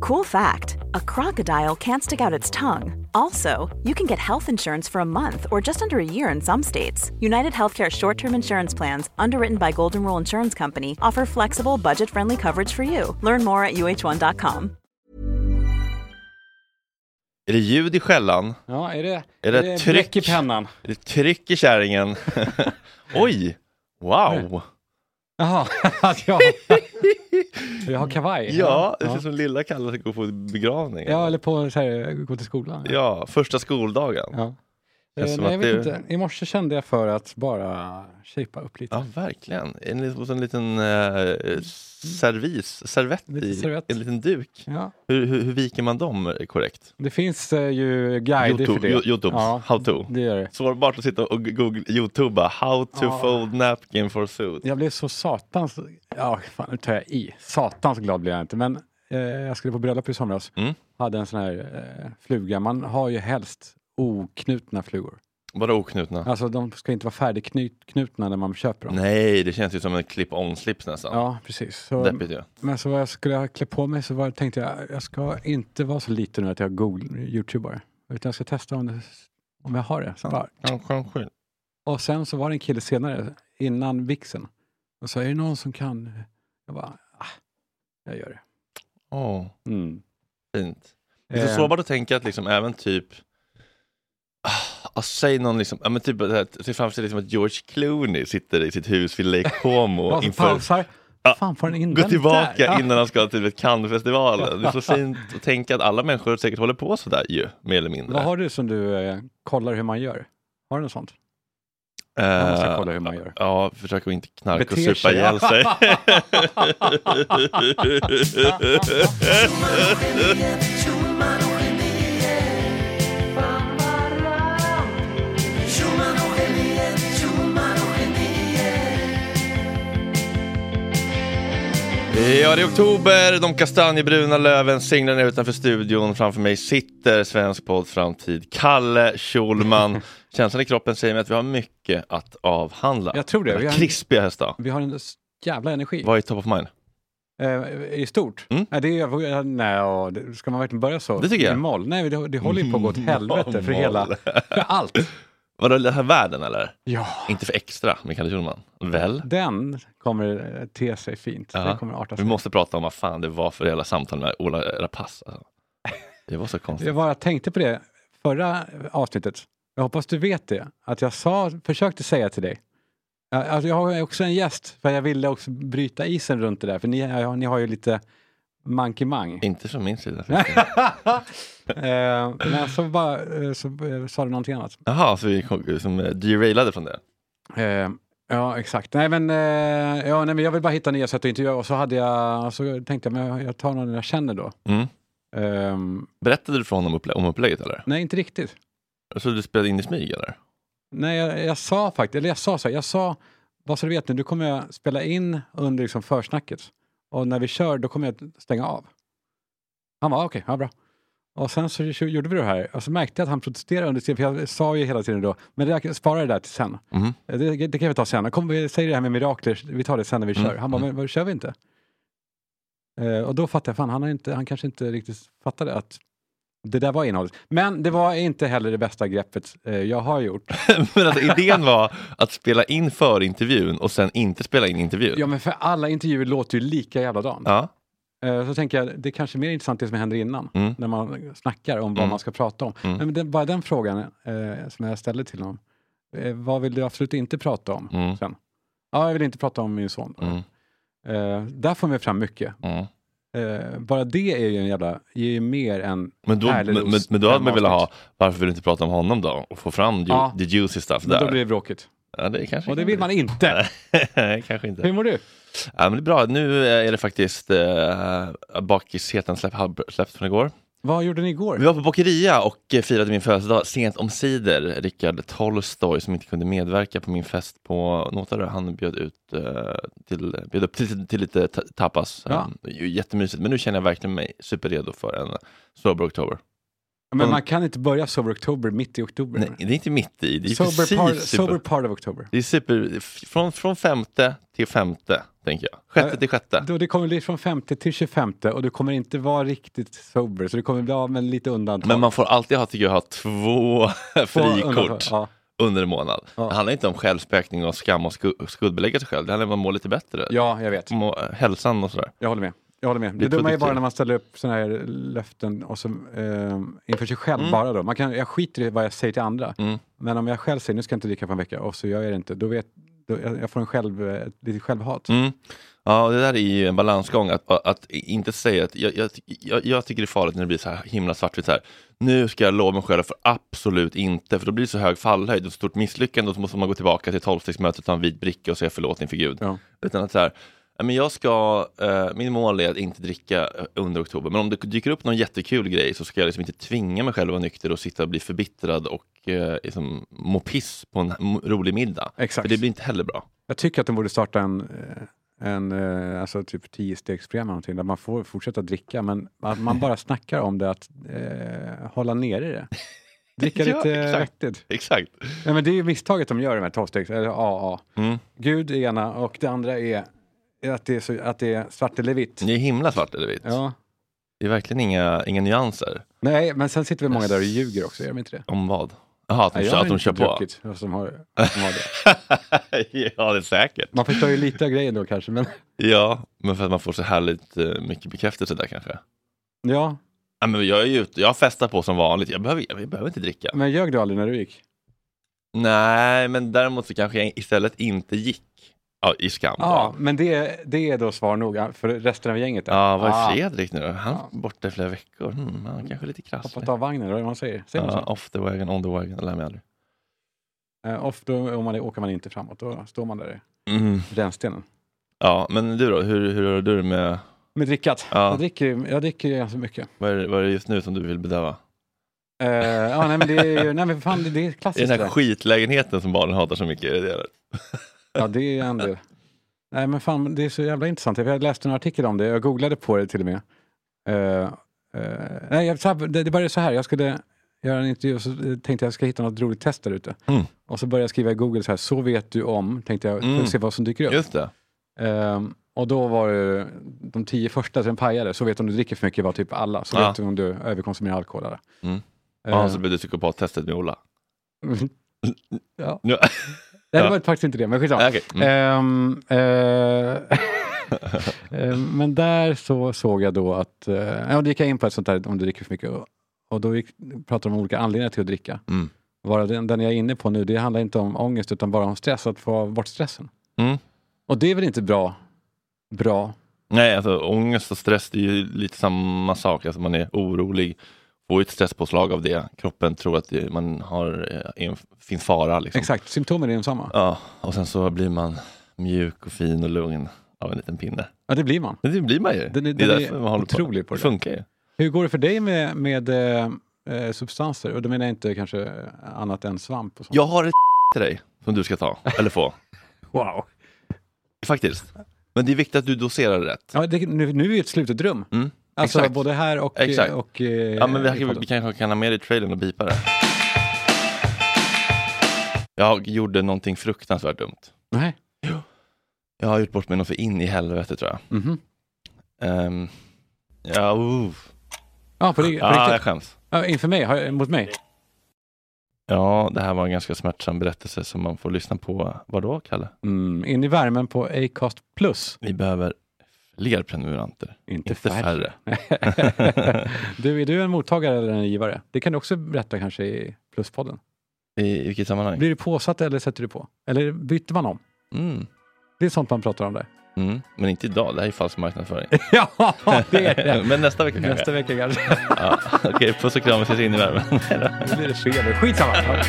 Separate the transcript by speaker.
Speaker 1: Cool fact a crocodile can't stick out its tongue. Also, you can get health insurance for a month or just under a year in some states. United Healthcare short term insurance plans, underwritten by Golden Rule Insurance Company, offer flexible, budget friendly coverage for you. Learn more at uh1.com.
Speaker 2: Är det ljud i skällan?
Speaker 3: Ja, är det,
Speaker 2: Är det tryck?
Speaker 3: bläck i pennan?
Speaker 2: Är det tryck i kärringen? Oj!
Speaker 3: Mm.
Speaker 2: Wow!
Speaker 3: Jaha, att jag, jag har kavaj.
Speaker 2: Ja, det ser ut som lilla Kalle ska gå på begravning.
Speaker 3: Ja, eller på så här, gå till skolan.
Speaker 2: Ja, första skoldagen.
Speaker 3: Ja.
Speaker 2: Känns
Speaker 3: Eh,
Speaker 2: som
Speaker 3: nej, jag
Speaker 2: att
Speaker 3: vet
Speaker 2: det-
Speaker 3: inte. I morse kände jag för att bara shapea upp lite.
Speaker 2: Ja, verkligen. En, li- hos en liten eh, servis, servett,
Speaker 3: Lite
Speaker 2: i,
Speaker 3: servett.
Speaker 2: en liten duk.
Speaker 3: Ja.
Speaker 2: Hur, hur, hur viker man dem eh, korrekt?
Speaker 3: Det finns eh, ju guider
Speaker 2: YouTube,
Speaker 3: för det.
Speaker 2: Yo- YouTube, how to.
Speaker 3: Det gör det.
Speaker 2: Sårbart att sitta och googla, youtuba how to
Speaker 3: Ja.
Speaker 2: fold napkin for suit.
Speaker 3: Jag blev så satans... Ja, fan, nu tar jag i. Satans glad blev jag inte. Men eh, jag skulle på bröllop i somras.
Speaker 2: Mm.
Speaker 3: Hade en sån här eh, fluga. Man har ju helst oknutna flugor.
Speaker 2: Bara oknutna.
Speaker 3: Alltså de ska inte vara färdigknutna när man köper dem.
Speaker 2: Nej, det känns ju som en clip-on-slips nästan.
Speaker 3: Ja, precis. Så,
Speaker 2: Deppigt ju.
Speaker 3: men så vad jag skulle klä på mig så var, tänkte jag jag ska inte vara så liten nu att jag Google youtubar. Utan jag ska testa om, det, om jag har det. Så bara,
Speaker 2: Kanske.
Speaker 3: Och sen så var det en kille senare, innan vixen. Och sa, är det någon som kan? Jag bara, ah, jag gör det. Eh,
Speaker 2: Åh,
Speaker 3: Mm.
Speaker 2: fint. Det
Speaker 3: Ehm.
Speaker 2: är så sårbart att tänka att liksom även typ, ah, ah, säg någon liksom, ja men typ det här, se framför sig liksom att George Clooney sitter i sitt hus vid Lake Como
Speaker 3: och
Speaker 2: inför,
Speaker 3: pausar.
Speaker 2: Ja,
Speaker 3: Fan, får den in
Speaker 2: gå
Speaker 3: den
Speaker 2: tillbaka
Speaker 3: där? Ja.
Speaker 2: innan han ska till ett Cannes-festivalen. Det är så fint att tänka att alla människor säkert håller på sådär ju, mer eller mindre.
Speaker 3: Vad har du som du eh, kollar hur man gör? Har du något sånt?
Speaker 2: Eh,
Speaker 3: Jag måste kolla hur man gör.
Speaker 2: Ja, försök att inte knarka och
Speaker 3: Beter
Speaker 2: supa
Speaker 3: sig.
Speaker 2: ihjäl sig. Ja, det är oktober. De kastanjebruna löven singlar ner utanför studion. Framför mig sitter Svensk podd framtid, Kalle Schulman. Känslan i kroppen säger mig att vi har mycket att avhandla.
Speaker 3: Jag tror det. Vi har en-
Speaker 2: Krispiga hästar.
Speaker 3: Vi har en s- jävla energi
Speaker 2: Vad är top of mind?
Speaker 3: eh, i stort.
Speaker 2: Mm.
Speaker 3: Nej, det är, jag- nej, ja, det- ska man verkligen börja så?
Speaker 2: Det tycker jag. Mm.
Speaker 3: I moll? Nej, det, det håller ju på att gå åt helvete för hela,
Speaker 2: Moll.
Speaker 3: för allt.
Speaker 2: Vadå, den här världen eller?
Speaker 3: Ja,
Speaker 2: Inte för extra med Kalle Schulman. Väl?
Speaker 3: den kommer eh, te sig fint. Den kommer arta
Speaker 2: Vi
Speaker 3: sig.
Speaker 2: måste prata om vad fan det var för hela samtal med Ola Rapace. Alltså. Det var så konstigt.
Speaker 3: Jag bara tänkte på det förra avsnittet. Jag hoppas du vet det, att jag sa, försökte säga till dig. Ja, Alltså jag har ju också en gäst, för jag ville också bryta isen runt det där, för ni, ja, ni har ju lite mankemang.
Speaker 2: Inte från min sida.
Speaker 3: eh, men så, bara, eh, så eh, sa du någonting annat.
Speaker 2: Jaha, så vi kom, som eh, derailade från det.
Speaker 3: Eh, ja, exakt. Nej men, eh, ja, nej, men jag vill bara hitta nya sätt att intervjua och så, hade jag, så tänkte jag, men jag- jag tar någon jag känner då.
Speaker 2: Mm.
Speaker 3: Ehm,
Speaker 2: Berättade du för honom upplä- om upplägget eller?
Speaker 3: nej, inte riktigt.
Speaker 2: Så du spelade in i smyg eller?
Speaker 3: Nej, jag, jag sa faktiskt, eller jag sa så här, jag sa, vad så du vet nu, du kommer jag spela in under liksom försnacket och när vi kör då kommer jag stänga av. Han var okej, ja bra. Och sen så gjorde vi det här och så märkte jag att han protesterade under tiden, för jag sa ju hela tiden då, men jag sparar det där till sen.
Speaker 2: Mhm.
Speaker 3: Eh, Det, det kan vi ta sen. Kom, vi säger det här med mirakler, vi tar det sen när vi kör. Han bara, men vad, kör vi inte? Eh, och då fattade jag, fan han, har inte, han kanske inte riktigt fattade att det där var innehållet. Men det var inte heller det bästa greppet eh, jag har gjort.
Speaker 2: Men alltså, idén var att spela in förintervjun och sen inte spela in intervjun.
Speaker 3: Ja, men för alla intervjuer låter ju lika jävla dan.
Speaker 2: Ja.
Speaker 3: Eh, Så tänker jag, det är kanske mer intressant det som händer innan,
Speaker 2: Mm.
Speaker 3: när man snackar om vad
Speaker 2: Mm.
Speaker 3: man ska prata om.
Speaker 2: Mm.
Speaker 3: Nej, Men den, bara den frågan eh, som jag ställde till honom. Eh, vad vill du absolut inte prata om
Speaker 2: Mm.
Speaker 3: sen? Ja, jag vill inte prata om min son.
Speaker 2: Mm.
Speaker 3: Eh, där får man ju fram mycket.
Speaker 2: Mm.
Speaker 3: Eh, bara det är ju en jävla, ger ju mer än...
Speaker 2: Men, då, men,
Speaker 3: Härlig
Speaker 2: men,
Speaker 3: dos.
Speaker 2: men då hade man
Speaker 3: Fem
Speaker 2: velat ha,
Speaker 3: avsnitt.
Speaker 2: varför vill du inte prata om honom då? Och få fram ju,
Speaker 3: Ja.
Speaker 2: the juicy stuff
Speaker 3: Men
Speaker 2: där.
Speaker 3: då blir det bråkigt.
Speaker 2: ja, det kanske
Speaker 3: Och det vill man inte.
Speaker 2: Nej, kanske inte.
Speaker 3: Hur mår du?
Speaker 2: Ja, men det är bra, nu eh, är det faktiskt eh, bakisheten släpp, har släppt från igår.
Speaker 3: Vad gjorde ni igår?
Speaker 2: Vi var på Bokeria och eh, firade min födelsedag sent omsider. Rickard Tolstoj som inte kunde medverka på min fest på Nåtarö, han bjöd, ut, eh, till, bjöd upp till, till lite ta- tapas.
Speaker 3: Ja.
Speaker 2: Eh, ju Jättemysigt, men nu känner jag verkligen mig superredo för en sober oktober.
Speaker 3: Ja, Men man kan inte börja Sober Oktober mitt i oktober.
Speaker 2: Nej, det är inte mitt i. Det är
Speaker 3: sober,
Speaker 2: precis
Speaker 3: part,
Speaker 2: super-
Speaker 3: sober part of Oktober.
Speaker 2: Det är super... Från, från femte till femte, tänker jag. Sjätte
Speaker 3: Nej,
Speaker 2: till sjätte.
Speaker 3: Då det kommer bli från 50 till 25 och du kommer inte vara riktigt sober så du kommer bli av med lite undantag.
Speaker 2: Men man får alltid ha, tycker jag, ha två
Speaker 3: Få
Speaker 2: frikort
Speaker 3: undantag, Ja.
Speaker 2: under en månad.
Speaker 3: Ja.
Speaker 2: Det handlar inte om självspäkning och skam och sku- skuldbelägga sig själv. Det handlar om att må lite bättre.
Speaker 3: ja, jag vet.
Speaker 2: Må, hälsan och sådär.
Speaker 3: Jag håller med. Jag håller med.
Speaker 2: Bli
Speaker 3: Det dumma är
Speaker 2: produktiv.
Speaker 3: bara när man ställer upp sådana här löften och så, eh, inför sig själv bara. Då. Man kan, jag skiter i vad jag säger till andra.
Speaker 2: Mm.
Speaker 3: Men om jag själv säger nu ska jag inte dricka på en vecka och så gör jag det inte. Då vet, då, jag, jag får en själv, eh, ett litet självhat.
Speaker 2: Mm. Ja, det där är ju en balansgång. Att, att inte säga att jag, jag, jag, jag tycker det är farligt när det blir så här himla svartvitt. Så här. Nu ska jag lova mig själv för absolut inte, för då blir det så hög fallhöjd och ett stort misslyckande och så måste man gå tillbaka till tolvstegsmötet, ta en vit bricka och säga förlåt inför Gud.
Speaker 3: Ja.
Speaker 2: Utan att så här, "Ja, men jag ska, eh, min mål är att inte dricka eh, under oktober, men om det dyker upp någon jättekul grej så ska jag liksom inte tvinga mig själv att vara nykter och sitta och bli förbittrad och eh, liksom, må piss på en m- rolig middag.
Speaker 3: Exakt.
Speaker 2: För det blir inte heller bra.
Speaker 3: Jag tycker att de borde starta en, eh, en eh, alltså typ tiostegsprogram eller någonting där man får fortsätta dricka men att man bara snackar om det att eh, hålla nere det. Dricka
Speaker 2: Ja,
Speaker 3: lite
Speaker 2: exakt.
Speaker 3: vettigt.
Speaker 2: Exakt.
Speaker 3: Nej, men det är ju misstaget de gör de här tolvstegs, eller AA.
Speaker 2: Mm.
Speaker 3: Gud är ena och det andra är att det är, så, att det är svart eller vitt.
Speaker 2: Det är himla svart eller vitt.
Speaker 3: Ja.
Speaker 2: Det är verkligen inga, inga nyanser.
Speaker 3: Nej, men sen sitter vi många där och ljuger också, gör de inte det?
Speaker 2: Om vad? Jaha, att de
Speaker 3: Nej,
Speaker 2: kör, att
Speaker 3: inte
Speaker 2: de kör på.
Speaker 3: druckit, och Som har, som har det.
Speaker 2: ja, det är säkert.
Speaker 3: Man förstör ju lite av grejen då kanske, men
Speaker 2: Ja, men för att man får så härligt eh, mycket bekräftelse där kanske.
Speaker 3: ja.
Speaker 2: Ja, men jag är ju ute, jag festar på som vanligt. Jag behöver, jag behöver inte dricka.
Speaker 3: Men ljög du aldrig när du gick?
Speaker 2: Nej, men däremot så kanske jag istället inte gick. Ja, i skam.
Speaker 3: Ja,
Speaker 2: Ja,
Speaker 3: men det, det är då svar nog för resten av gänget. där.
Speaker 2: ja vad är
Speaker 3: Ah,
Speaker 2: Fredrik nu då? Han
Speaker 3: Ja.
Speaker 2: är borta i flera veckor. Hmm, han kanske är lite krasslig.
Speaker 3: Hoppat av vagnen, eller vad man säger. säger man
Speaker 2: Ja,
Speaker 3: så?
Speaker 2: off the wagon, on the wagon, jag lär mig aldrig.
Speaker 3: Eh, ofta om man, åker man inte framåt, då står man där
Speaker 2: Mm.
Speaker 3: i rännstenen.
Speaker 2: Ja, men du då? Hur, hur har du det med,
Speaker 3: Med drickat.
Speaker 2: Ja.
Speaker 3: Jag, dricker, ju- jag dricker ju ganska mycket.
Speaker 2: vad är, det- vad är det just nu som du vill bedöva?
Speaker 3: Eh, ja, nej, men det är ju, nej, men fan, det, det är
Speaker 2: Det är
Speaker 3: klassiskt.
Speaker 2: den
Speaker 3: det
Speaker 2: här
Speaker 3: där.
Speaker 2: skitlägenheten som barnen hatar så mycket. Är det det?
Speaker 3: Ja, det är en del. Nej, men fan, det är så jävla intressant. Jag läste en artikel om det. Jag googlade på det till och med. Eh, eh, nej, jag, så här- det, det började så här. Jag skulle göra en intervju och så eh, tänkte jag jag ska hitta något roligt test där ute.
Speaker 2: Mm.
Speaker 3: Och så började jag skriva i Google så här, så vet du om, tänkte jag, för
Speaker 2: Mm.
Speaker 3: att se vad som dyker upp.
Speaker 2: Just det.
Speaker 3: Ehm, och då var det de tio första som pajade, så vet du om du dricker för mycket var typ alla. Så
Speaker 2: Ja.
Speaker 3: vet du om du överkonsumerar alkohol. Eller?
Speaker 2: Mm.
Speaker 3: Ehm,
Speaker 2: Ja, så blev det psykopattestet med Ola.
Speaker 3: ja.
Speaker 2: Nu-
Speaker 3: Nej,
Speaker 2: Ja.
Speaker 3: det var faktiskt inte det, men skitsamma.
Speaker 2: Nej, okej. Mm.
Speaker 3: Ehm, eh, ehm, men där så såg jag då att, eh, ja, då gick jag in på ett sånt där om du dricker för mycket. Och, och då gick, pratade de om olika anledningar till att dricka.
Speaker 2: Mm.
Speaker 3: Varav den, den jag är inne på nu, det handlar inte om ångest utan bara om stress, att få bort stressen.
Speaker 2: Mm.
Speaker 3: Och det är väl inte bra, bra
Speaker 2: Nej, alltså ångest och stress det är ju lite samma sak. Alltså man är orolig, får ju ett stresspåslag av det. Kroppen tror att det, man har, eh, är en, finns fara. Liksom.
Speaker 3: Exakt, symptomen är desamma. Ja.
Speaker 2: Ja, och sen så blir man mjuk och fin och lugn av en liten pinne.
Speaker 3: det blir man.
Speaker 2: Men Det blir man ju.
Speaker 3: Den är-
Speaker 2: det är
Speaker 3: den
Speaker 2: därför
Speaker 3: är
Speaker 2: man håller
Speaker 3: otrolig på
Speaker 2: på.
Speaker 3: det
Speaker 2: Det funkar ju.
Speaker 3: Hur går det för dig med, med eh, eh, substanser? Och då menar jag inte kanske annat än svamp och sånt.
Speaker 2: Jag har ett till dig som du ska ta, eller få.
Speaker 3: Wow.
Speaker 2: Faktiskt. Men det är viktigt att du doserar det rätt.
Speaker 3: Ja, det, nu, nu är vi i ett slutet rum.
Speaker 2: Mm.
Speaker 3: Alltså
Speaker 2: Exakt.
Speaker 3: både här och...
Speaker 2: Exakt.
Speaker 3: och eh,
Speaker 2: Ja, men vi,
Speaker 3: i podden.
Speaker 2: vi kanske kan ha med det i trailern och bipa det. Jag gjorde någonting fruktansvärt dumt.
Speaker 3: Nej.
Speaker 2: Jag har gjort bort mig något så in i helvete tror jag.
Speaker 3: Mhm.
Speaker 2: Ehm, ja, uh.
Speaker 3: Ja, på, ri- på
Speaker 2: ja, jag
Speaker 3: riktigt.
Speaker 2: skäms.
Speaker 3: Ja, inför mig, har jag- mot mig.
Speaker 2: Ja, det här var en ganska smärtsam berättelse som man får lyssna på. Vadå, Kalle?
Speaker 3: Mm, in i värmen på Acast Plus.
Speaker 2: Vi behöver fler prenumeranter,
Speaker 3: Inte
Speaker 2: inte
Speaker 3: färre.
Speaker 2: färre.
Speaker 3: du, är du en mottagare eller en givare? Det kan du också berätta kanske i Pluspodden.
Speaker 2: I, I vilket sammanhang?
Speaker 3: Blir du påsatt eller sätter du på? Eller byter man om?
Speaker 2: Mm.
Speaker 3: Det är sånt man pratar om där.
Speaker 2: Mm. Men inte idag, det här är falsk marknadsföring.
Speaker 3: ja, det är det.
Speaker 2: Men nästa vecka kanske.
Speaker 3: Nästa vecka kanske.
Speaker 2: Ja. Okej, puss och kram, vi ses in i värmen.
Speaker 3: Nu blir det feber. Skitsamma.